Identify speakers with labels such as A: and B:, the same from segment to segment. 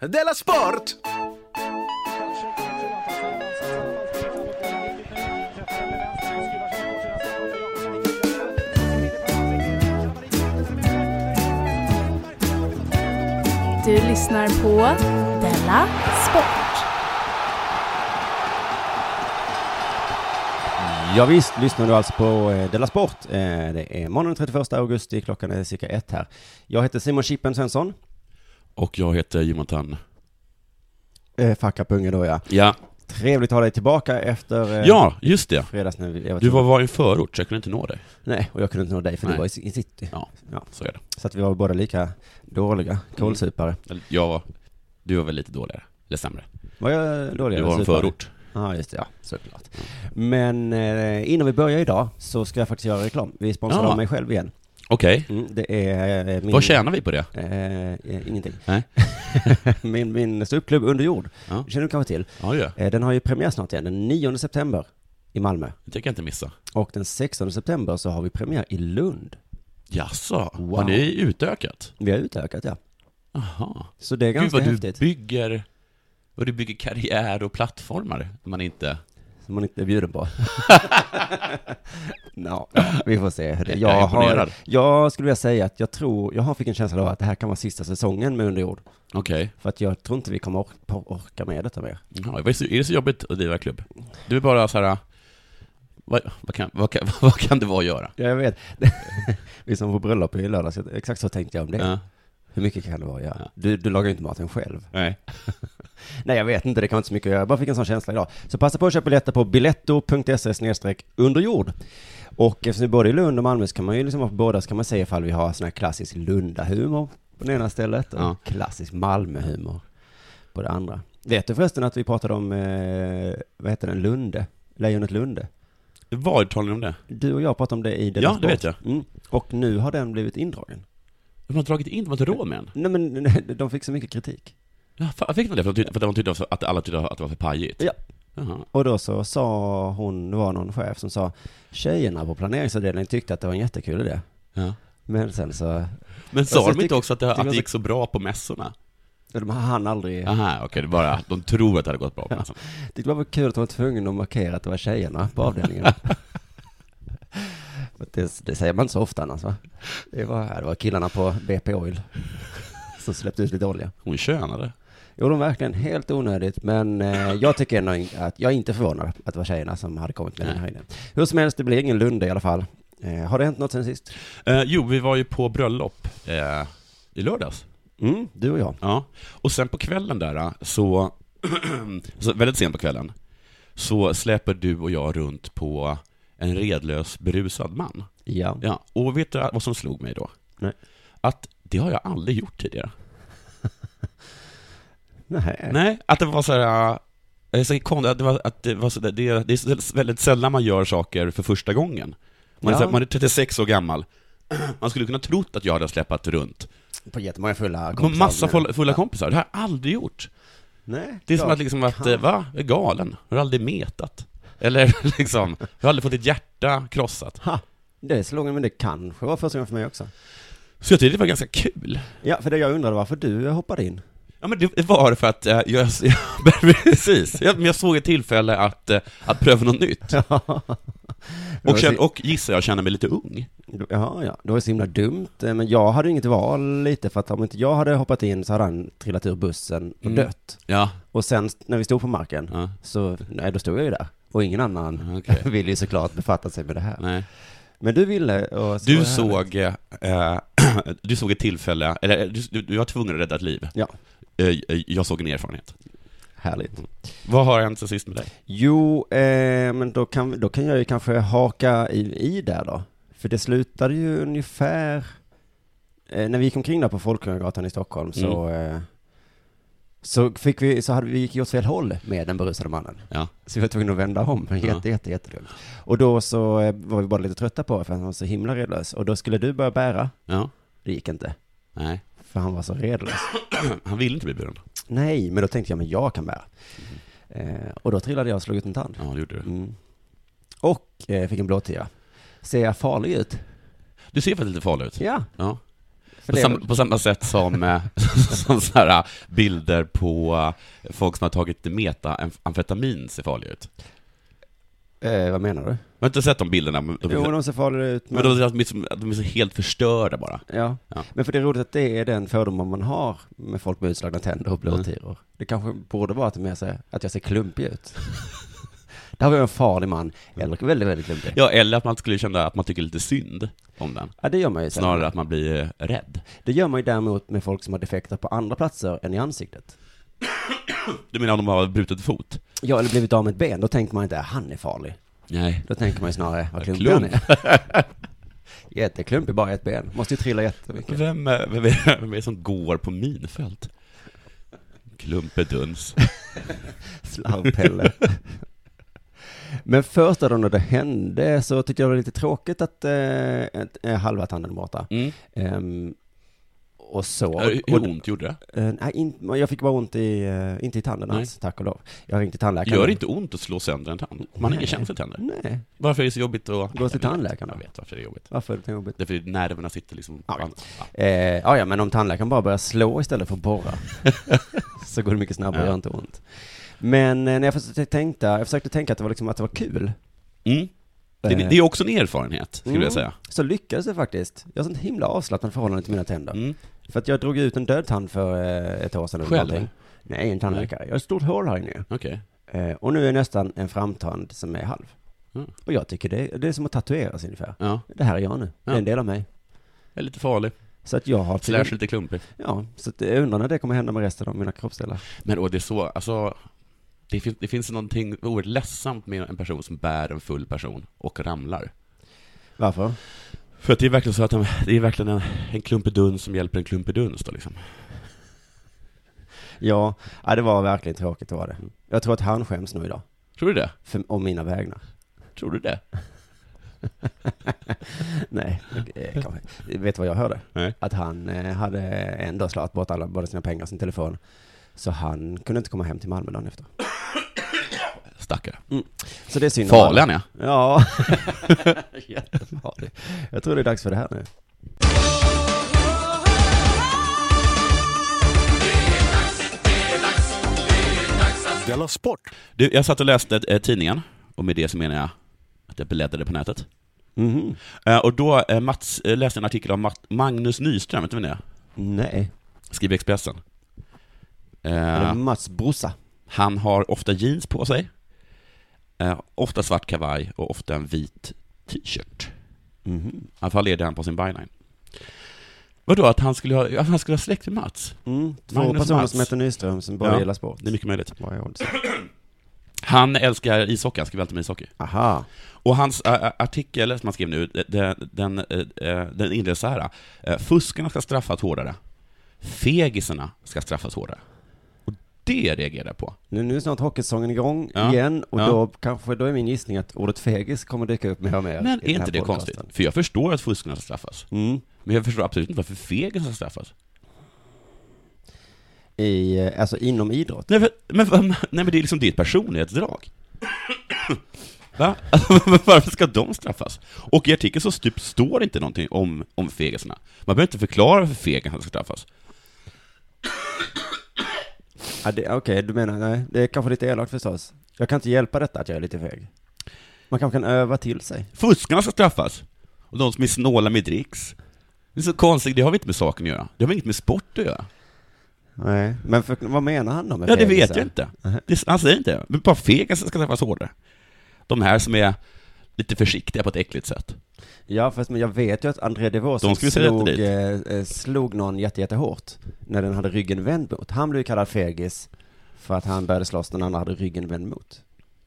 A: Della Sport!
B: Du lyssnar på Della Sport.
C: Ja, visst lyssnar du alltså på eh, Della Sport. Eh, Det är måndagen den 31 augusti, klockan är cirka ett här. Jag heter Simon Chippen Svensson.
D: Och jag heter Jonathan.
C: Eh, Fuck up unge då ja.
D: Ja,
C: Trevligt att ha dig tillbaka efter eh,
D: ja just det.
C: fredags när vi, jag
D: Du var, var i en förort, så jag kunde inte nå dig.
C: Nej, och jag kunde inte nå dig för du
D: Nej.
C: var i, i city.
D: Ja,
C: Ja.
D: så är det.
C: Så att vi var båda lika dåliga kålsupare.
D: Eller, Jag var, du var väl lite dåligare. Eller sämre.
C: Var jag dålig?
D: Du
C: eller
D: var i en
C: supare?
D: förort.
C: Ja, just det. Ja, såklart. Men eh, innan vi börjar idag så ska jag faktiskt göra reklam. Vi sponsrar
D: Ja.
C: av mig själv igen.
D: Okej.
C: Mm, det är eh, min...
D: Vad tjänar vi på det?
C: Eh, eh, ingenting.
D: Nej.
C: min min ståuppklubb Under jord,
D: Ja.
C: känner du kanske till.
D: Ja, det gör jag.
C: Eh, den har ju premiär snart igen, den 9 september i Malmö.
D: Det tänker jag inte missa.
C: Och den 16 september så har vi premiär i Lund.
D: Jaså,
C: Wow.
D: har ni utökat?
C: Vi har utökat ja.
D: Jaha.
C: Så det är
D: Gud
C: ganska
D: vad du
C: häftigt.
D: bygger, vad du bygger karriär och plattformar. Man inte...
C: Som man inte är bjuden på. Nå, ja, vi får se. hur det-
D: Jag är
C: Jag, har,
D: imponerad.
C: jag skulle vilja säga att jag tror, jag har fick en känsla av att det här kan vara sista säsongen med Underjord.
D: Okej.
C: För att jag tror inte vi kommer orka, orka med detta mer.
D: Ja, är det så- är det så jobbigt att driva klubb? Du är bara så här... Vad, vad, kan, vad, kan, vad kan det vara att göra?
C: Ja, jag vet. vi som får bröllop i lördags, exakt så tänkte jag om det.
D: Ja.
C: Hur mycket kan det vara att göra?
D: Ja.
C: Du, du lagar ju inte maten själv.
D: Nej.
C: Nej, jag vet inte, det kan vara inte så mycket att göra. Jag bara fick en sån känsla idag. Så passa på att köpa biljetter på biletto.se underjord. Och eftersom vi är både i Lund och Malmö så kan man ju liksom vara på båda, så kan man säga ifall vi har sån här klassisk Lundahumor på det ena stället och
D: Ja.
C: klassisk Malmöhumor på det andra. Vet du förresten att vi pratade om, eh, vad heter den, Lunde? Lejonet Lunde.
D: Vad talar ni om det?
C: Du och jag pratade om det i den
D: Ja, det vet jag.
C: Mm. Och nu har den blivit indragen.
D: De har dragit in, de har inte råd med en.
C: Nej men, nej, de fick så mycket kritik.
D: Ja, fan, fick de det? För att de tyckte, för att de tyckte också att alla tyckte att det var för pajigt?
C: Ja.
D: Jaha.
C: Och då så sa hon, det var någon chef som sa, tjejerna på planeringsavdelningen tyckte att det var en jättekul idé.
D: Ja.
C: Men sen så,
D: Men
C: så
D: sa de
C: tycker-
D: inte också att det,
C: tycker
D: att
C: Alltså, jag-
D: det gick så bra på mässorna?
C: de hann aldrig,
D: Aha, okej, det är bara att de tror att det hade gått bra på mässorna.
C: det var väl kul att de var tvungna att markera att det var tjejerna på avdelningen. För att det, det säger man inte så ofta annars va? Det var, ja, det var killarna på BP Oil som släppte ut lite olja.
D: Hon könade.
C: Jo, de verkligen helt onödigt, men eh, jag tycker ändå in- att jag är inte förvånad att det var tjejerna som hade kommit med den här idén. Hur som helst, det blir ingen Lunde i alla fall. Eh, har det hänt något sen sist?
D: Eh, jo, vi var ju på bröllop eh, i lördags.
C: Mm, du och jag.
D: Ja. Och sen på kvällen där, eh, så, så väldigt sent på kvällen, så släpper du och jag runt på en redlös berusad man.
C: Ja.
D: Ja, och vet du vad som slog mig då?
C: Nej.
D: Att det har jag aldrig gjort tidigare.
C: Nej.
D: Eh. Nej, att det var så här... äh, Så konstigt, att det, var, att det, var så där, det, det är så väldigt sällan man gör saker för första gången.
C: Ja.
D: Man, är, så här, man är 36 år gammal. Man skulle kunna trott att jag hade släppt runt.
C: På jättemånga fulla
D: På
C: kompisar. alltså.
D: massa fulla, fulla kompisar. Det har jag aldrig gjort.
C: Nej.
D: Det är som
C: klart.
D: att liksom att, eh, va? Jag är galen. Jag har aldrig metat. Eller liksom, jag har aldrig fått ett hjärta krossat.
C: Ha. Det är så långt, men det kanske var första gången för mig också.
D: Så jag tyckte det var ganska kul.
C: Ja, för det jag undrade varför du hoppade in.
D: Ja men det var för att eh, jag, precis, jag, men jag såg ett tillfälle att, eh, att pröva något nytt. Och, känn- och gissar jag känner mig lite ung.
C: Ja, ja. Det var ju så himla dumt. Eh, Men jag hade ju inget val lite, för att om inte jag hade hoppat in så hade han trillat ur bussen och
D: Mm.
C: dött.
D: Ja.
C: Och sen när vi stod på marken,
D: ja.
C: så, nej, då stod jag ju där. Och ingen annan
D: Okej.
C: ville ju såklart befatta sig med det här.
D: Nej.
C: Men du ville, och så var
D: Du
C: det härligt.
D: såg, eh, du såg ett tillfälle, eller du, du- du var tvungen att rädda ett liv.
C: Ja.
D: Eh, jag såg en erfarenhet.
C: Härligt.
D: Vad har hänt sen sist med dig?
C: Jo, eh, men då kan, då kan jag ju kanske haka i, i där då. För det slutade ju ungefär, eh, när vi gick omkring där på Folkungagatan i Stockholm så,
D: Mm.
C: eh, så fick vi, så hade vi gick ju åt fel håll med den berusade mannen.
D: Ja.
C: Så vi var tvungna att vända om, jätte,
D: Ja.
C: jätte, jättedumt. Och då så eh, var vi bara lite trötta på för han var så himla redlös. Och då skulle du börja bära,
D: Ja.
C: det gick inte.
D: Nej.
C: För han var så redlös.
D: Han ville inte bli buren.
C: Nej, men då tänkte jag, men jag kan bära.
D: Mm.
C: Eh, och då trillade jag och slog ut en tand.
D: Ja, det gjorde du.
C: Mm. Och eh, fick en blåtira. Ser jag farlig ut?
D: Du ser faktiskt lite farlig ut.
C: Ja.
D: Ja. På samma, på samma sätt som, eh, som så här, bilder på eh, folk som har tagit metaamfetamin ser farliga ut.
C: Eh, vad menar du?
D: Jag har inte sett de bilderna, men de,
C: Jo, de ser farliga ut,
D: men
C: men...
D: de, de, är som- de är så helt förstörda bara.
C: ja.
D: Ja.
C: Men för det är roligt att det är den fördomen man har med folk med utslagna tänder och
D: Mm.
C: blåtiror. Det kanske borde vara att, det mer ser, att jag ser klumpig ut. Där har vi en farlig man, eller väldigt, väldigt klumpig. Ja,
D: Mm. Ja, eller att man skulle känna att man tycker lite synd om den,
C: det gör man ju. sällan.
D: snarare att man blir eh, rädd.
C: Det gör man ju däremot med folk som har defekter på andra platser än i ansiktet.
D: Du menar om de har brutit fot?
C: Ja, eller blivit av med ett ben, då tänker man inte "Ah, han är farlig.
D: Nej.
C: Då tänker man ju snarare vad
D: Klump.
C: klumpig han är. Jätteklumpig, bara ett ben. Måste ju trilla jättemycket.
D: Vem, eh, vem, är, vem är det som går på minfält? Klumpeduns.
C: Slarvpelle. Men först då när det hände så tyckte jag det var lite tråkigt att eh, att, eh, halva tanden var borta.
D: Mm.
C: Ehm, och så.
D: Hur
C: och,
D: hur ont gjorde det?
C: eh, nej, in, jag fick bara ont i, eh, inte i tanden
D: Nej.
C: alls, tack och lov. Jag ringde till tandläkaren.
D: Gör det inte ont att slå sönder en tand? Man har
C: Nej.
D: inga känsla för tänder.
C: Nej.
D: Mm. Varför är det så jobbigt att...
C: till
D: Jag vet.
C: tandläkaren då?
D: Jag vet varför det är jobbigt.
C: Varför är det jobbigt?
D: Därför att nerverna sitter liksom... på
C: Ja.
D: annat. Ja.
C: Eh, ja, ja, men om tandläkaren bara börjar slå istället för att borra så går det mycket snabbare och
D: Ja.
C: gör inte ont. Men eh, när jag försökte, tänkte, jag försökte tänka att det var, liksom, att det var kul,
D: Mm. Det,
C: Eh.
D: det är också en erfarenhet, skulle
C: Mm.
D: jag säga.
C: så lyckades jag faktiskt. Jag har sånt himla avslappnat förhållande till mina tänder.
D: Mm.
C: För att jag drog ut en död tand för eh, ett år sedan. eller
D: Själv?
C: någonting. Nej, en tandläkare. Jag har ett stort hål här inne.
D: Okej.
C: Eh, och nu är nästan en framtand som är halv.
D: Mm.
C: Och jag tycker det, det är som att tatueras ungefär.
D: Ja.
C: Det här är jag nu. Det är
D: Ja.
C: en del av mig.
D: Jag är lite farlig.
C: Så att jag har...
D: Slash lite klumpig.
C: Ja, så att jag undrar när det kommer hända med resten av mina kroppsdelar.
D: Men och det är så, alltså... Det, fin- det finns någonting oerhört ledsamt med en person som bär en full person och ramlar.
C: Varför?
D: För att det är verkligen så att de, det är verkligen en, en klumpeduns som hjälper en klumpeduns då liksom.
C: Ja, ja, det var verkligen tråkigt var det. Jag tror att han skäms nu idag.
D: Tror du det?
C: För, om mina vägnar.
D: Tror du det?
C: Nej, eh, kanske. Vet du vad jag hörde?
D: Nej.
C: Att han eh, hade en dag slagit bort alla, både sina pengar och sin telefon. Så han kunde inte komma hem till Malmö dagen efter.
D: Stackare.
C: Så det är synd om
D: Farlig han är.
C: honom. Ja. Jättefarlig. Jag tror det är dags för det här nu.
A: Della Sport!
D: Du, jag satt och läste eh, tidningen, och med det så menar jag att jag bläddrade på nätet.
C: Mhm.
D: Eh, och då eh, Mats, eh, läste jag en artikel av Mat- Magnus Nyström, vet du vem det är?
C: Nej.
D: Skriver Expressen.
C: Det
D: Eh,
C: är Mats brorsa.
D: han har ofta jeans på sig, eh, ofta svart kavaj och ofta en vit t-shirt.
C: Mhm.
D: I alla fall är det han på sin byline. Vadå, att han skulle ha, att han skulle ha släkt med Mats?
C: Mm. Två
D: Magnus
C: personer
D: Mats.
C: som heter Nyström som båda
D: Ja.
C: gillar sport.
D: Det är mycket möjligt.
C: Vad är oddsen?
D: Han älskar ishockey, han skriver alltid om ishockey.
C: Aha.
D: Och hans ä, ä, artikel som han skrev nu, den, den, ä, ä, den inleds så här. ä, Fuskarna ska straffas hårdare. Fegisarna ska straffas hårdare. Och det reagerar jag på.
C: Nu, nu är snart hockeysäsongen igång
D: Ja.
C: igen och
D: Ja.
C: då kanske, då är min gissning att ordet fegis kommer dyka upp mer och mer.
D: Men
C: i den
D: är
C: här
D: inte det
C: podcasten.
D: konstigt? För jag förstår att fuskarna ska straffas.
C: Mm.
D: Men jag förstår absolut inte varför fegisarna ska straffas.
C: I, eh, alltså inom idrott.
D: Nej, för, men, vad- nej, men det är liksom ditt personlighetsdrag. Va? Alltså, Varför ska de straffas? Och i artikeln så typ står det inte någonting om, om fegisarna. Man behöver inte förklara varför fegisarna ska straffas.
C: Ja, det- Okej, du menar, nej, det är kanske lite elakt förstås. Jag kan inte hjälpa detta att jag är lite feg. Man kanske kan öva till sig.
D: Fuskarna ska straffas. Och de som är snåla med dricks. Det är så konstigt, det har vi inte med saken att göra. Det har väl inget med sport att göra?
C: Nej, men för, vad menar han då med
D: Ja, det
C: fegisar?
D: vet jag inte. Det, han säger inte det. Men bara fega ska straffas hårdare. De här som är lite försiktiga på ett äckligt sätt.
C: Ja, fast men jag vet ju att André DeVos
D: De skulle säga
C: slog,
D: rätt dit.
C: eh, eh, slog någon jätte, jättehårt när den hade ryggen vänd mot. Han blev ju kallad fegis för att han började slåss när den andra hade ryggen vänd mot.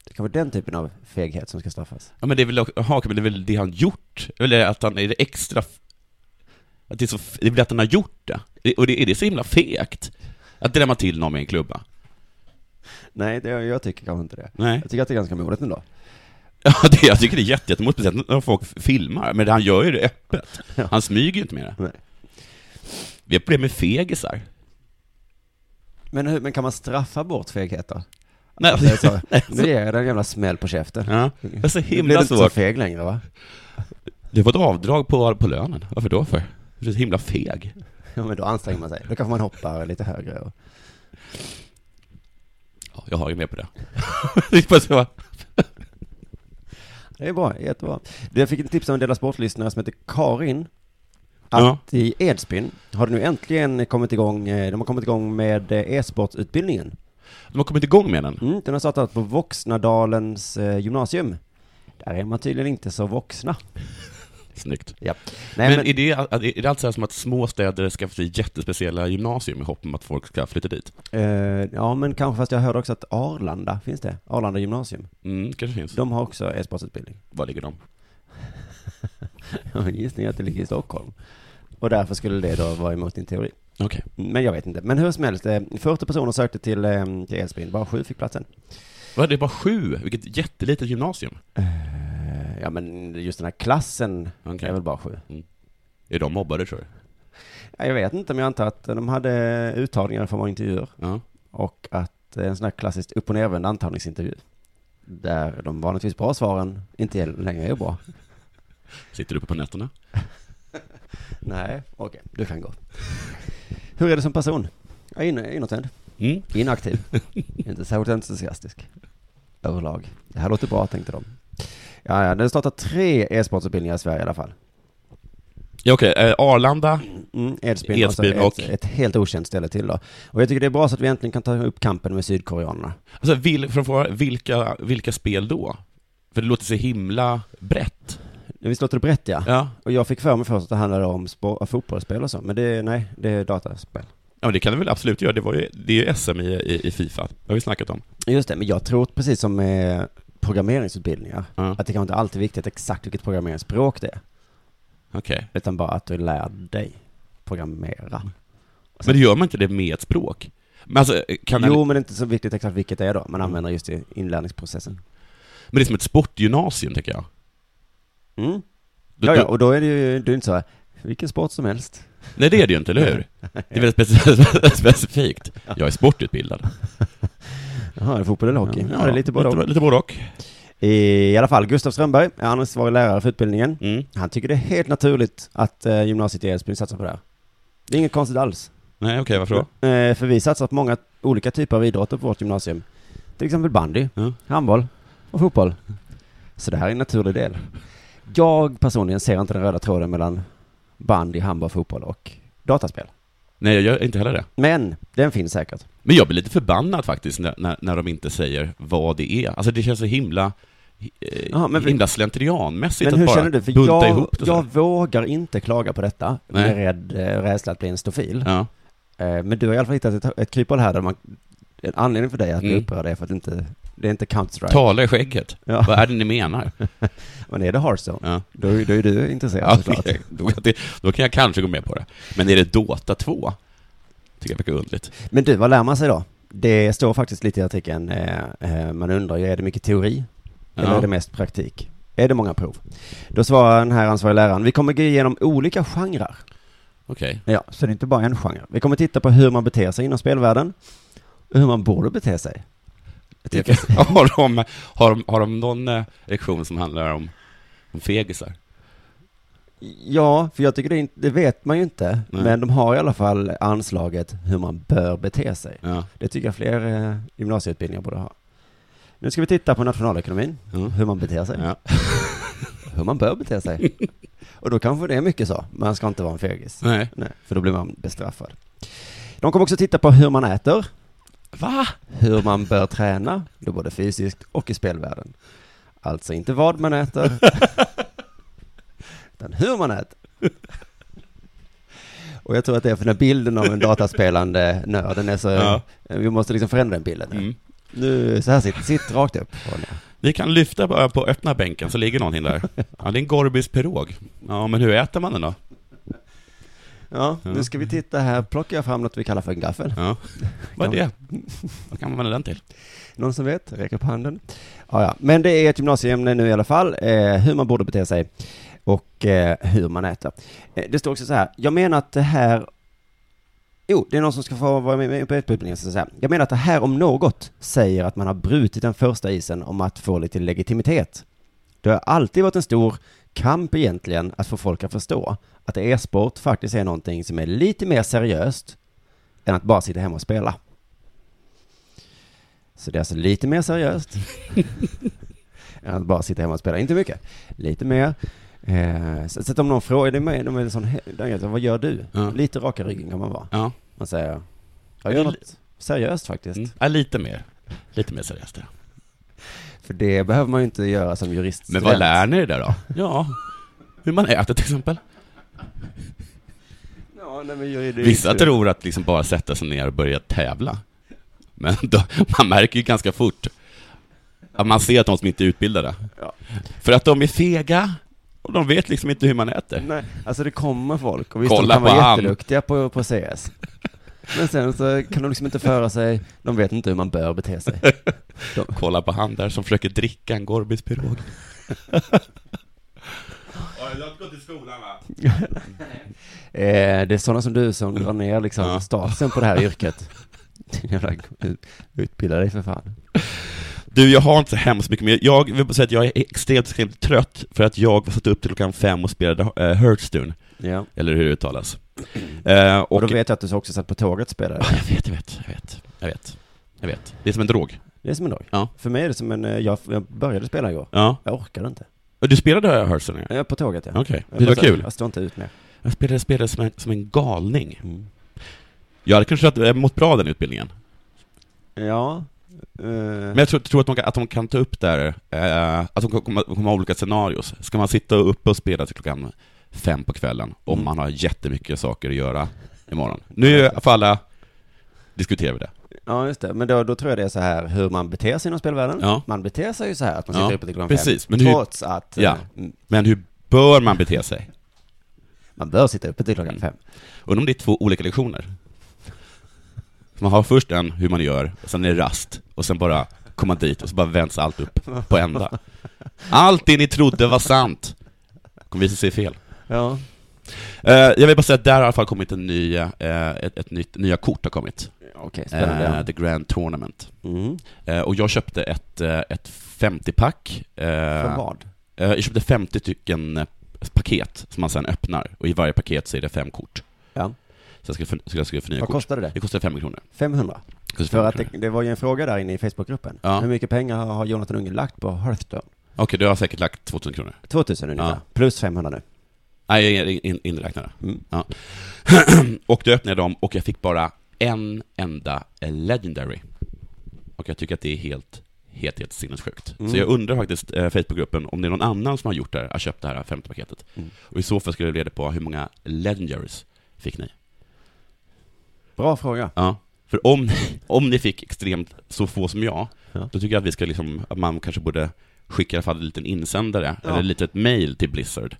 C: Det kan vara den typen av feghet som ska straffas.
D: Ja, men det är väl, aha, men det, är väl det han gjort? Eller att han är det extra... f- Att det, är så, f- det är väl att han har gjort det? Det- Och det, är det så himla fegt? Att drämma till någon med en klubba?
C: Nej, det, jag tycker kanske inte det.
D: Nej.
C: Jag tycker att det är ganska modigt ändå.
D: Ja, det, jag tycker det är jätte- jättemodigt, speciellt när folk filmar, men han gör ju det öppet. Han smyger ju inte med det.
C: Nej.
D: Vi har problem med fegisar.
C: Men, hur, men kan man straffa bort feghet då?
D: Nej,
C: Alltså, jag sa, nu ger jag den jävla smäll på käften.
D: ja, det är så
C: Nu blir du
D: himla
C: inte så
D: svårt.
C: feg längre va?
D: Du får ett avdrag på, på lönen. Varför då för? Du är så himla feg.
C: Ja, men då anstränger man sig. Då kanske man hoppar lite högre. Och...
D: Ja, jag har ju med på det. det är bara så, va?
C: Det är bra, jättebra. Du, Jag fick ett tips av en Dela Sport-lyssnare som heter Karin. Att
D: Ja.
C: i Edsbyn har det nu äntligen kommit igång, eh, de har kommit igång med eh, e-sportsutbildningen.
D: De har kommit igång med den.
C: Mm, den har startat på Voxnadalens eh, gymnasium. Där är man tydligen inte så vuxna.
D: Snyggt.
C: Ja.
D: men,
C: Nej, men,
D: är, det, är det alltså här som att små städer ska få jättespeciella gymnasium i hopp om att folk ska flytta dit?
C: eh, ja, men kanske fast jag hörde också att Arlanda, finns det? Arlanda gymnasium.
D: Mm, kanske finns.
C: De har också e-sportsutbildning.
D: Var ligger de?
C: Ja, men gissning är att det ligger i Stockholm. Och därför skulle det då vara emot din teori.
D: Okej.
C: Men jag vet inte. Men hur som helst, eh, 40 personer sökte till, eh, till Edsbyn, bara sju fick platsen.
D: Vad, det är bara sju? Vilket jättelitet gymnasium.
C: Eh, Ja men just den här klassen
D: Okej.
C: är väl bara sju.
D: Är de mobbade, tror du?
C: Ja, Jag vet inte men jag antar att de hade uttagningar för många intervjuer
D: Ja.
C: och att eh, en sån här klassisk upp och nervänd antagningsintervju. Där de vanligtvis bra svaren inte längre är bra.
D: Sitter du uppe på nätterna?
C: Nej, okej, du kan gå. Hur är du som person? Jag är in- inåtvänd.
D: Mm.
C: Inaktiv. inte särskilt entusiastisk. Överlag. Det här låter bra, tänkte de. Ja, ja, det startar tre e-sportsutbildningar i Sverige i alla fall.
D: Ja, okej. Eh, Arlanda.
C: Mm, Edsbyn,
D: Edsbyn
C: alltså
D: och-
C: ett, ett helt okänt ställe till då. Och jag tycker det är bra så att vi äntligen kan ta upp kampen med sydkoreanerna.
D: Alltså, vil, för att få, vilka, vilka spel då? För det låter så himla brett.
C: Visst låter det brett ja?
D: Ja.
C: Och jag fick för mig först att det handlade om spor- fotbollsspel och så, men det, nej, det är dataspel.
D: Ja, men det kan det väl absolut göra. Det, var ju, det är ju SM i, i, i Fifa. Det har vi snackat om.
C: Just det, men jag tror precis som med programmeringsutbildningar,
D: Ja.
C: att det kanske inte alltid är viktigt exakt vilket programmeringsspråk det är,
D: Okej.
C: utan bara att du lär dig programmera.
D: Men det gör man inte det med ett språk? Men alltså, kan
C: Jo,
D: man,
C: men det är inte så viktigt exakt vilket det är då, man använder just i inlärningsprocessen.
D: men det är som ett sportgymnasium, tycker jag.
C: Mm.
D: Då-
C: Ja, ja,
D: då-
C: och då är det ju, du är inte så här, vilken sport som helst.
D: Nej, det är det ju inte, eller hur? Det är väldigt speci- specifikt. Jag är sportutbildad.
C: Jaha, är det fotboll eller hockey? Ja, det är lite både och.
D: Lite, lite både och. I
C: I alla fall, Gustav Strömberg är ansvarig lärare för utbildningen.
D: Mm.
C: Han tycker det är helt naturligt att eh, gymnasiet i Edsbyn satsar på det här. Det är inget konstigt alls.
D: Nej, okej, varför då?
C: Eh, för vi satsar på många olika typer av idrotter på vårt gymnasium. Till exempel bandy,
D: Ja.
C: handboll och fotboll. Så det här är en naturlig del. Jag personligen ser inte den röda tråden mellan bandy, handboll, fotboll och dataspel.
D: Nej, jag gör inte heller det.
C: Men den finns säkert.
D: Men jag blir lite förbannad faktiskt när, när, när de inte säger vad det är. Alltså det känns så himla, eh,
C: Ja, men-
D: himla slentrianmäsigt
C: Men
D: att
C: hur
D: bara
C: känner du? För
D: bunta
C: jag,
D: ihop det så
C: jag
D: där.
C: vågar inte klaga på detta. Jag är
D: Nej.
C: rädd, eh, rädsla att bli en stofil.
D: Ja.
C: Eh, Men du har i alla fall hittat ett, ett kryphål här där man, en anledning för dig att bli
D: Mm.
C: upprörd är för att det inte, det är inte Counter-Strike.
D: Tala i skägget.
C: Ja.
D: Vad är det ni menar?
C: Men är det Hearthstone,
D: Ja.
C: då, är- då är du intresserad
D: Ja,
C: såklart.
D: okej. då, det, då kan jag kanske gå med på det. Men är det Dota 2? Tycker jag verkar underligt.
C: Men du, vad lär man sig då? Det står faktiskt lite i artikeln, eh, eh, man undrar ju, är det mycket teori? Eller
D: Ja.
C: är det mest praktik? Är det många prov? Då svarar den här ansvariga läraren, vi kommer gå igenom olika genrer.
D: Okej.
C: Ja, så det är inte bara en genre. Vi kommer titta på hur man beter sig inom spelvärlden, och hur man borde bete sig. Jag tycker-
D: har, de, har, de, har de någon eh, lektion som handlar om, om fegisar?
C: Ja, för jag tycker det, är inte- det vet man ju inte.
D: Nej.
C: Men de har i alla fall anslaget hur man bör bete sig.
D: Ja.
C: Det tycker jag fler eh, gymnasieutbildningar borde ha. Nu ska vi titta på nationalekonomin,
D: Mm.
C: hur man beter sig,
D: Ja.
C: hur man bör bete sig. Och då kanske det är mycket så, man ska inte vara en fegis.
D: Nej.
C: Nej, för då blir man bestraffad. De kommer också titta på hur man äter,
D: Va?
C: hur man bör träna, då både fysiskt och i spelvärlden. Alltså inte vad man äter, utan hur man äter. Och jag tror att det är för den här bilden av en dataspelande nörd, den är så,
D: Ja.
C: vi måste liksom förändra den bilden.
D: Mm.
C: Nu, så här sitt, sitt rakt upp. Och ner.
D: Ni kan lyfta bara på öppna bänken så ligger någonting där. Ja, det är en Gorbis pirog. Ja, men hur äter man den då?
C: Ja, nu ska vi titta här, plockar jag fram något vi kallar för en gaffel.
D: Ja. Vad är det? Vad kan man använda den till?
C: Någon som vet? Räck upp handen. Ja, ja. Men det är ett gymnasieämne nu i alla fall, eh, hur man borde bete sig och eh, hur man äter. Eh, det står också så här, jag menar att det här... Jo, det är någon som ska få vara med, med på utbildningen. Så så här. Jag menar att det här om något säger att man har brutit den första isen om att få lite legitimitet. Det har alltid varit en stor kamp egentligen att få folk att förstå att e-sport faktiskt är någonting som är lite mer seriöst än att bara sitta hemma och spela. Så det är alltså lite mer seriöst än att bara sitta hemma och spela. Inte mycket, lite mer. Eh, så, så att om någon frågar, det är med, de är en sån, he- de är så, vad gör du?
D: Ja.
C: Lite raka ryggen kan man vara.
D: Ja.
C: Man säger, jag gör något seriöst faktiskt.
D: Mm. ja, lite mer. Lite mer seriöst. ja.
C: För det behöver man ju inte göra som
D: Men
C: juriststudent.
D: vad lär ni er där då? Ja, hur man äter till exempel.
C: Ja, nej, men juridik-
D: Vissa tror att liksom bara sätta sig ner och börja tävla. Men då, man märker ju ganska fort att man ser att de som inte är utbildade.
C: Ja.
D: För att de är fega och de vet liksom inte hur man äter.
C: Nej, alltså det kommer folk och visst
D: Kolla
C: de kan
D: på
C: vara
D: han.
C: jätteduktiga på, på CS. Men sen så kan de liksom inte föra sig, de vet inte hur man bör bete sig.
D: Kolla på han där som försöker dricka en Gorbis pirog. Du har inte gått i skolan va?
C: Eh, det är sådana som du som drar ner liksom
D: Ja.
C: statusen på det här yrket. Jävla- Utbilda dig för fan.
D: Du, jag har inte så hemskt mycket mer. Jag vill bara säga att jag är extremt, extremt trött för att jag satt upp till klockan fem och spelade eh, Hearthstone,
C: Ja.
D: eller hur det uttalas. Eh,
C: Och då Mm. vet jag att du också satt på tåget och spelade.
D: Ja, Jag vet, jag vet, jag vet, jag vet, jag vet. Det är som en drog.
C: Det är som en dag.
D: Ja.
C: För mig är det som en, eh, jag, jag började spela igår.
D: Ja.
C: Jag orkade inte.
D: Och Du spelade Hearthstone? ja?
C: Jag är på tåget ja.
D: Okej,
C: Jag
D: det var
C: bara-
D: kul.
C: Jag står inte ut mer.
D: Jag spelade, spelade som, en, som en galning. Jag hade kanske att- eh, mått bra av den utbildningen.
C: Ja. eh,
D: Men jag tror, tror att, de kan, att de kan ta upp där, eh, att de kommer komma ha olika scenarios. Ska man sitta uppe och spela till klockan fem på kvällen om
C: Mm.
D: man har jättemycket saker att göra imorgon? Nu för alla eh, diskuterar vi det.
C: Ja, just det. Men då, då tror jag det är så här hur man beter sig inom spelvärlden.
D: Ja.
C: Man beter sig ju så här att man
D: Ja,
C: sitter uppe till klockan
D: precis.
C: fem.
D: Men hur-
C: trots att eh,
D: Ja.
C: m-
D: Men hur bör man bete sig?
C: man bör sitta uppe till klockan
D: Mm.
C: fem.
D: Undrar om det är två olika lektioner? Man har först en hur man gör, sen är det rast, och sen bara komma dit och så bara vänds allt upp på ända. Allt det ni trodde var sant kommer visa sig fel.
C: Ja.
D: Eh, jag vill bara säga att där har i alla fall kommit en ny, eh, ett, ett nytt, nya kort har kommit.
C: Okej,
D: Eh,
C: spännande.
D: The Grand Tournament.
C: Mm.
D: Eh, och jag köpte ett, eh, ett 50-pack. eh,
C: För vad?
D: eh, jag köpte 50 stycken eh, paket som man sen öppnar, och i varje paket så är det fem kort.
C: Ja.
D: Så jag ska, för, så jag ska förnya
C: Vad
D: kort.
C: kostade det?
D: Det kostar 5 kronor.
C: 500?
D: Det kostar
C: För
D: 5
C: att det,
D: kronor.
C: det var ju en fråga där inne i Facebookgruppen.
D: Ja.
C: Hur mycket pengar har Jonathan Unge lagt på Hearthstone?
D: Okej, du har säkert lagt 2000 kronor.
C: 2000 ungefär.
D: Ja.
C: Plus 500 nu.
D: Nej, jag in- in- inräknade.
C: Mm.
D: Ja. och då öppnade jag dem och jag fick bara en enda Legendary. Och jag tycker att det är helt, helt, helt sinnessjukt.
C: Mm.
D: Så jag undrar faktiskt eh, Facebookgruppen om det är någon annan som har gjort det här, har köpt det här femte paketet.
C: Mm.
D: Och i så fall skulle jag vilja reda på hur många Legendaries fick ni?
C: Bra fråga.
D: Ja. För om, ni- om ni fick extremt så få som jag,
C: Ja.
D: då tycker jag att vi ska liksom, att man kanske borde skicka i alla fall en liten insändare,
C: Ja.
D: eller ett litet mail till Blizzard.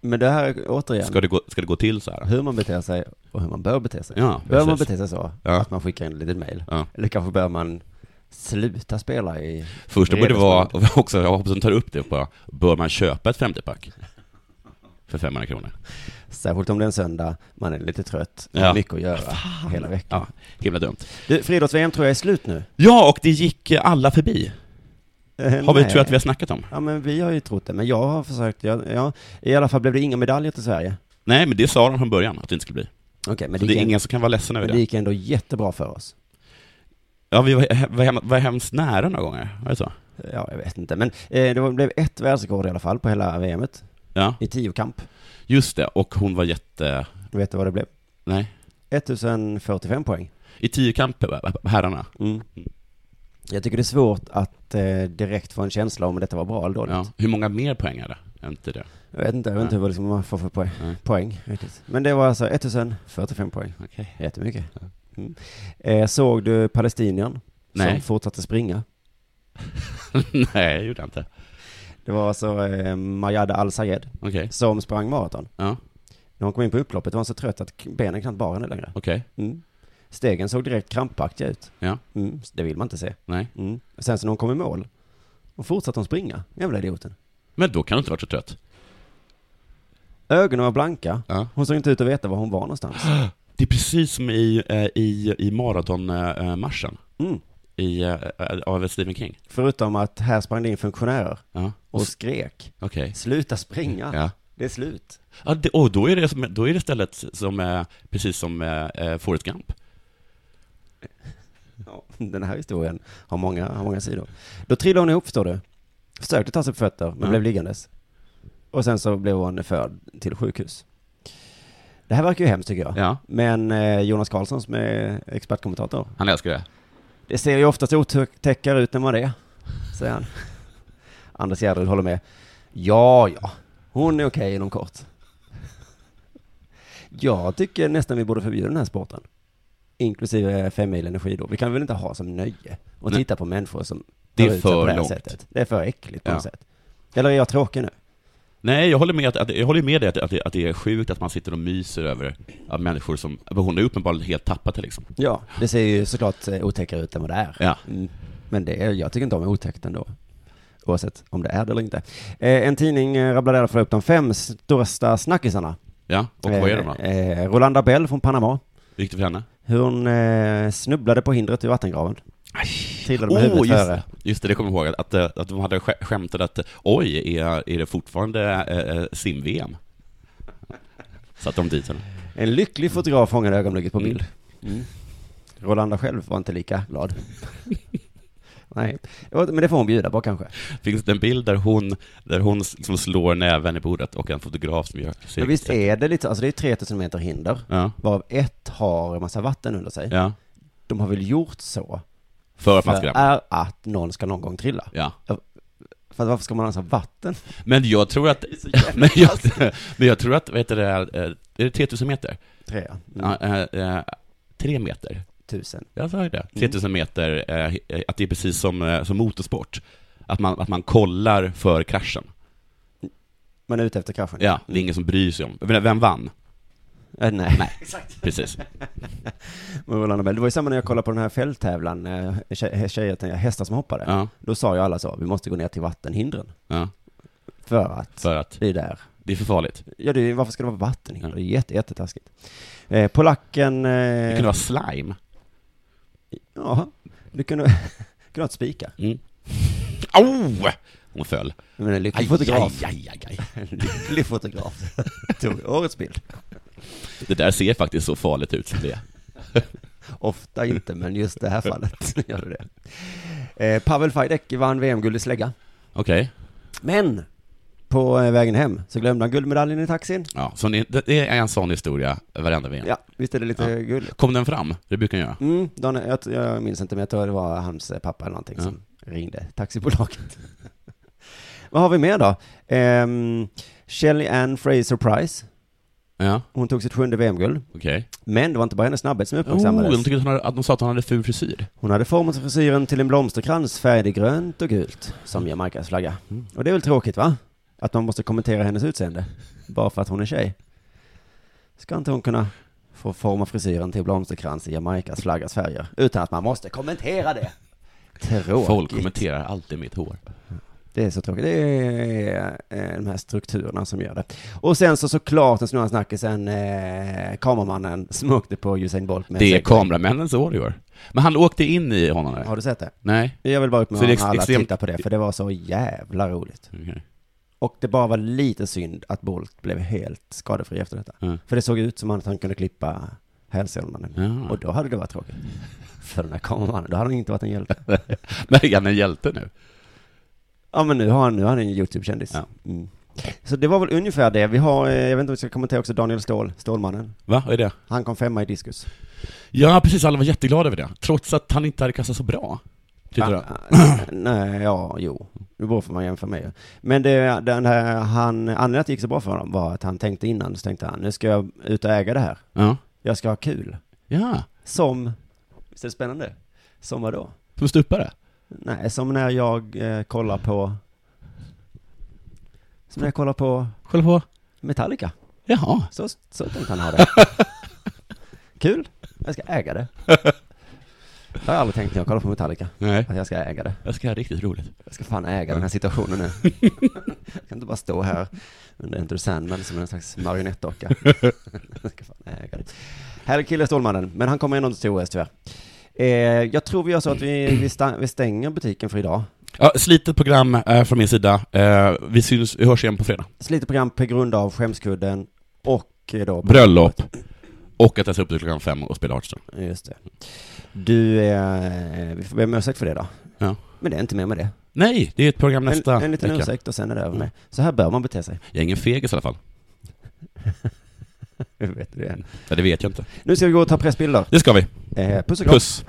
C: Men det här är återigen,
D: Ska det gå, ska det gå till så här?
C: hur man beter sig och hur man bör bete sig.
D: Ja,
C: Bör man
D: precis.
C: bete sig så
D: Ja.
C: att man skickar en liten mail?
D: Ja.
C: Eller kanske bör man sluta spela i...
D: Första borde
C: Redan
D: vara, och också, jag hoppas de tar upp det bara, bör man köpa ett 50-pack? För 500 kronor.
C: Särskilt om det är en söndag, man är lite trött,
D: Ja.
C: har mycket att göra hela veckan.
D: Ja, himla dumt.
C: Du, friidrotts-VM tror jag är slut nu.
D: Ja, och det gick eh, alla förbi.
C: Eh,
D: Har vi,
C: nej.
D: tror jag att vi har snackat om.
C: Ja men vi har ju trott det, men jag har försökt, jag, ja, i alla fall blev det inga medaljer till Sverige.
D: Nej, men det sa de från början att det inte skulle bli.
C: Okej, men,
D: Så
C: det
D: det är
C: gick en-
D: ingen som kan vara ledsen över
C: men det
D: det.
C: gick ändå jättebra för oss.
D: Ja, vi var, he- var, hem, var hemskt nära några gånger, var det så?
C: Ja, jag vet inte, men eh, det var- blev ett världsrekord i alla fall på hela VMet,
D: Ja,
C: i tiokamp.
D: just det. Och hon var jätte...
C: Vet du vad det blev?
D: Nej.
C: 1045 poäng.
D: I tiokamp, herrarna.
C: Jag tycker det är svårt att eh, direkt få en känsla om detta var bra eller dåligt.
D: Ja. Hur många mer poäng är det? Är Inte det.
C: Jag vet inte, jag vet inte vad det ska- man får för poäng.
D: Nej.
C: poäng riktigt. Men det var alltså 1045 poäng.
D: Okej.
C: Jättemycket. Mm. Eh, såg du palestiniern som
D: Nej.
C: fortsatte springa?
D: Nej, jag gjorde inte.
C: Det var alltså eh, Majada Al-Sayed
D: Okej.
C: som sprang maraton.
D: Ja,
C: När hon kom in på upploppet var hon så trött att k- benen knappt bar henne längre.
D: okej.
C: Mm. Stegen såg direkt krampaktiga ut.
D: Ja.
C: Mm. Det vill man inte se.
D: Nej.
C: Mm. Sen så när hon kom i mål, och fortsatte hon springa. Jävla idioten.
D: Men då kan du inte ha varit så trött.
C: Ögonen var blanka.
D: Ja.
C: Hon såg inte ut att veta var hon var någonstans.
D: Det är precis som i, eh, i, i maratonmarschen.
C: Mm.
D: i, eh, eh, av Stephen King?
C: Förutom att här sprang det in funktionärer
D: Ja,
C: och skrek.
D: okej.
C: Sluta springa.
D: Ja.
C: Det är slut.
D: Ja, det, och då är det, som, då är det stället som, eh, precis som eh, eh, Forrest Gump.
C: Ja, den här historien har många, har många sidor. Då trillade hon ihop, förstår du. Försökte ta sig på fötter, men
D: Ja.
C: blev liggandes. Och sen så blev hon förd till sjukhus. Det här verkar ju hemskt tycker jag.
D: Ja,
C: Men eh, Jonas Karlsson som är expertkommentator,
D: han älskar det.
C: det ser ju oftast otäckare ut när man är, säger han. Anders Gärdrud håller med. Ja, ja, hon är okej inom kort. Jag tycker nästan vi borde förbjuda den här sporten. Inklusive femmilen i skidor. Vi kan väl inte ha som nöje att
D: Nej.
C: titta på människor som
D: Det är
C: tar ut sig på
D: för
C: det här
D: långt.
C: sättet. Det är för äckligt på
D: Ja.
C: något sätt. Eller är jag tråkig nu?
D: Nej, jag håller med, att, att, jag håller med dig att, att, det- att det är sjukt att man sitter och myser över ja, människor som, hon har ju uppenbarligen helt tappat det liksom.
C: Ja, det ser ju såklart eh, otäckare ut än vad det är.
D: Ja.
C: Mm. Men det, är- jag tycker inte om otäckt ändå. Oavsett om det är det eller inte. Eh, en tidning eh, rabblade i alla fall upp de fem största snackisarna.
D: Ja, och vad är de då?
C: Eh, eh, Rolanda Bell från Panama.
D: Hur gick det för henne?
C: Hur hon eh, snubblade på hindret i vattengraven. Trillade med huvudet
D: Oh, just,
C: före.
D: det. just det, det kommer jag ihåg, att, eh, att de hade sk- skämtat att oj, är, är det fortfarande eh, eh, sim-VM? Satte de dit henne.
C: En lycklig fotograf fångade ögonblicket på bild. Mm. Rolanda själv var inte lika glad. Nej, Det var- men det får hon bjuda på kanske.
D: Finns det en bild där hon, där hon s- liksom slår näven i bordet och en fotograf som gör sig...
C: Men visst är det lite, alltså det är 3000 meter hinder,
D: Ja,
C: varav ett har en massa vatten under sig.
D: ja.
C: De har väl gjort så
D: För att man
C: för
D: ska...
C: är att någon ska någon gång trilla.
D: Ja.
C: För att varför ska man annars ha vatten?
D: Men jag tror att... men, jag, men jag tror att, vad heter det, eh, är det 3000 meter?
C: Tre, mm,
D: Ja, eh, eh, tre meter.
C: tusen.
D: Jag sa ju det.
C: Mm.
D: 3000 meter, eh, eh, att det är precis som, eh, som motorsport. Att man, att man kollar för kraschen.
C: Man är ute efter kraschen.
D: Ja, det är ingen som bryr sig om. Jag menar, Vem vann?
C: Äh, nej.
D: Nej, precis.
C: Men Roland Nobel, det var ju samma när jag kollade på den här fälttävlan, eh, tje- tjejer, tänkte jag, hästar som hoppade.
D: Ja,
C: Då sa ju alla så, vi måste gå ner till vattenhindren.
D: ja,
C: För att
D: för att
C: det är där.
D: det är för farligt.
C: Ja, det är, varför ska det vara vattenhinder? Det är jätte, jättetaskigt. Eh, polacken...
D: Det
C: Eh,
D: kunde vara slime.
C: Ja, det kunde... kunde ha ett spikar.
D: Mm. Au! Hon föll.
C: Men en lycklig
D: Aj,
C: fotograf.
D: aj, aj, aj, aj.
C: En lycklig fotograf. Tog årets bild.
D: Det där ser faktiskt så farligt ut som det är.
C: Ofta inte, men just det här fallet gör det det. Eh, Pavel Fajdek vann VM-guld i slägga.
D: Okej.
C: Men! På eh, vägen hem så glömde han guldmedaljen i taxin.
D: Ja, så ni, det det är en sån historia varenda VM.
C: Ja, visst är det lite
D: Ja.
C: gulligt?
D: Kom den fram? Det brukar den göra.
C: Mm, Dan, jag, jag minns inte, men jag tror det var hans eh, pappa eller någonting
D: Ja.
C: som ringde taxibolaget. Vad har vi mer då? Ehm, Shelly Ann Fraser Price.
D: Ja,
C: Hon tog sitt sjunde VM-guld.
D: okej.
C: Men det var inte bara hennes snabbhet som
D: Oh, de,
C: uppmärksammades.
D: tyckte att, hon hade, att de sa att hon hade ful frisyr.
C: Hon hade format frisyren till en blomsterkrans färgad i grönt och gult, som Jamaikas flagga.
D: Mm.
C: Och det är väl tråkigt va? Att man måste kommentera hennes utseende, bara för att hon är tjej. Ska inte hon kunna få forma frisyren till blomsterkrans i Jamaikas flaggas färger, utan att man måste kommentera det? Tråkigt.
D: Folk kommenterar alltid mitt hår.
C: Det är så tråkigt. Det är eh, de här strukturerna som gör det. Och sen så såklart den snurran snackisen, eh, kameramannen som åkte på Usain Bolt med
D: Det är
C: säck.
D: kameramännens hår i år. Men han åkte in i honom där?
C: Har du sett det?
D: Nej.
C: Jag vill bara
D: Så det är
C: uppmana
D: ex-
C: alla att
D: extremt-
C: titta på det, för det var så jävla roligt.
D: Okej.
C: Och det bara var lite synd att Bolt blev helt skadefri efter detta.
D: Mm.
C: För det såg ut som att han kunde klippa hälsenorna nu.
D: Ja.
C: Och då hade det varit tråkigt. För den här kameramannen, då hade han inte varit en hjälte.
D: Men är han en hjälte nu?
C: Ja men nu har han, nu har han en YouTube-kändis.
D: Ja.
C: Mm. Så det var väl ungefär det. Vi har, eh, jag vet inte om vi ska kommentera också Daniel Ståhl, Stålmannen.
D: Va, vad är det?
C: Han kom femma i diskus.
D: Ja, precis, alla var jätteglada över det. Trots att han inte hade kastat så bra. Tyckte de.
C: Ah, nej, ja, jo. Det beror på vad man jämför med ju. Men det, den här, han, anledningen till att det gick så bra för honom var att han tänkte innan, så tänkte han, nu ska jag ut och äga det här.
D: Ja.
C: Jag ska ha kul.
D: ja,
C: Som, visst är det spännande? Som vadå?
D: som stupare.
C: Nej, som när jag eh, kollar på, som när jag kollar på
D: Kolla på.
C: Metallica.
D: Jaha.
C: Så, så tänkte han ha det. Kul, jag ska äga det. Det har jag aldrig tänkt när jag kollar på Metallica,
D: Nej.
C: att jag ska äga det.
D: Jag ska ha riktigt roligt.
C: Jag ska fan äga den här situationen nu. Jag kan inte bara stå här under Enter Sandman som en slags marionettdocka. Jag ska fan äga det. Här är kille Stålmannen, men han kommer ändå inte till OS tyvärr. Eh, jag tror vi gör så att vi, vi, sta- vi stänger butiken för idag.
D: Ja, slitet program eh, från min sida. Eh, vi syns, vi hörs igen på fredag.
C: Slitet program på grund av skämskudden och eh, då...
D: Bröllop. Och att jag ska upp till klockan fem och spela Hardstone.
C: Just det. Du, eh, vi får be om ursäkt för det då.
D: Ja.
C: Men det är inte mer med det.
D: Nej, det är ett program nästa
C: en, en liten
D: vecka. Mm.
C: ursäkt och sen är det över med. Så här bör man bete sig.
D: Jag är ingen fegis i alla fall.
C: Jag vet det.
D: Ja, det vet jag inte.
C: Nu ska vi gå och ta pressbilder.
D: Det ska vi.
C: Eh, puss och kram.
D: Puss.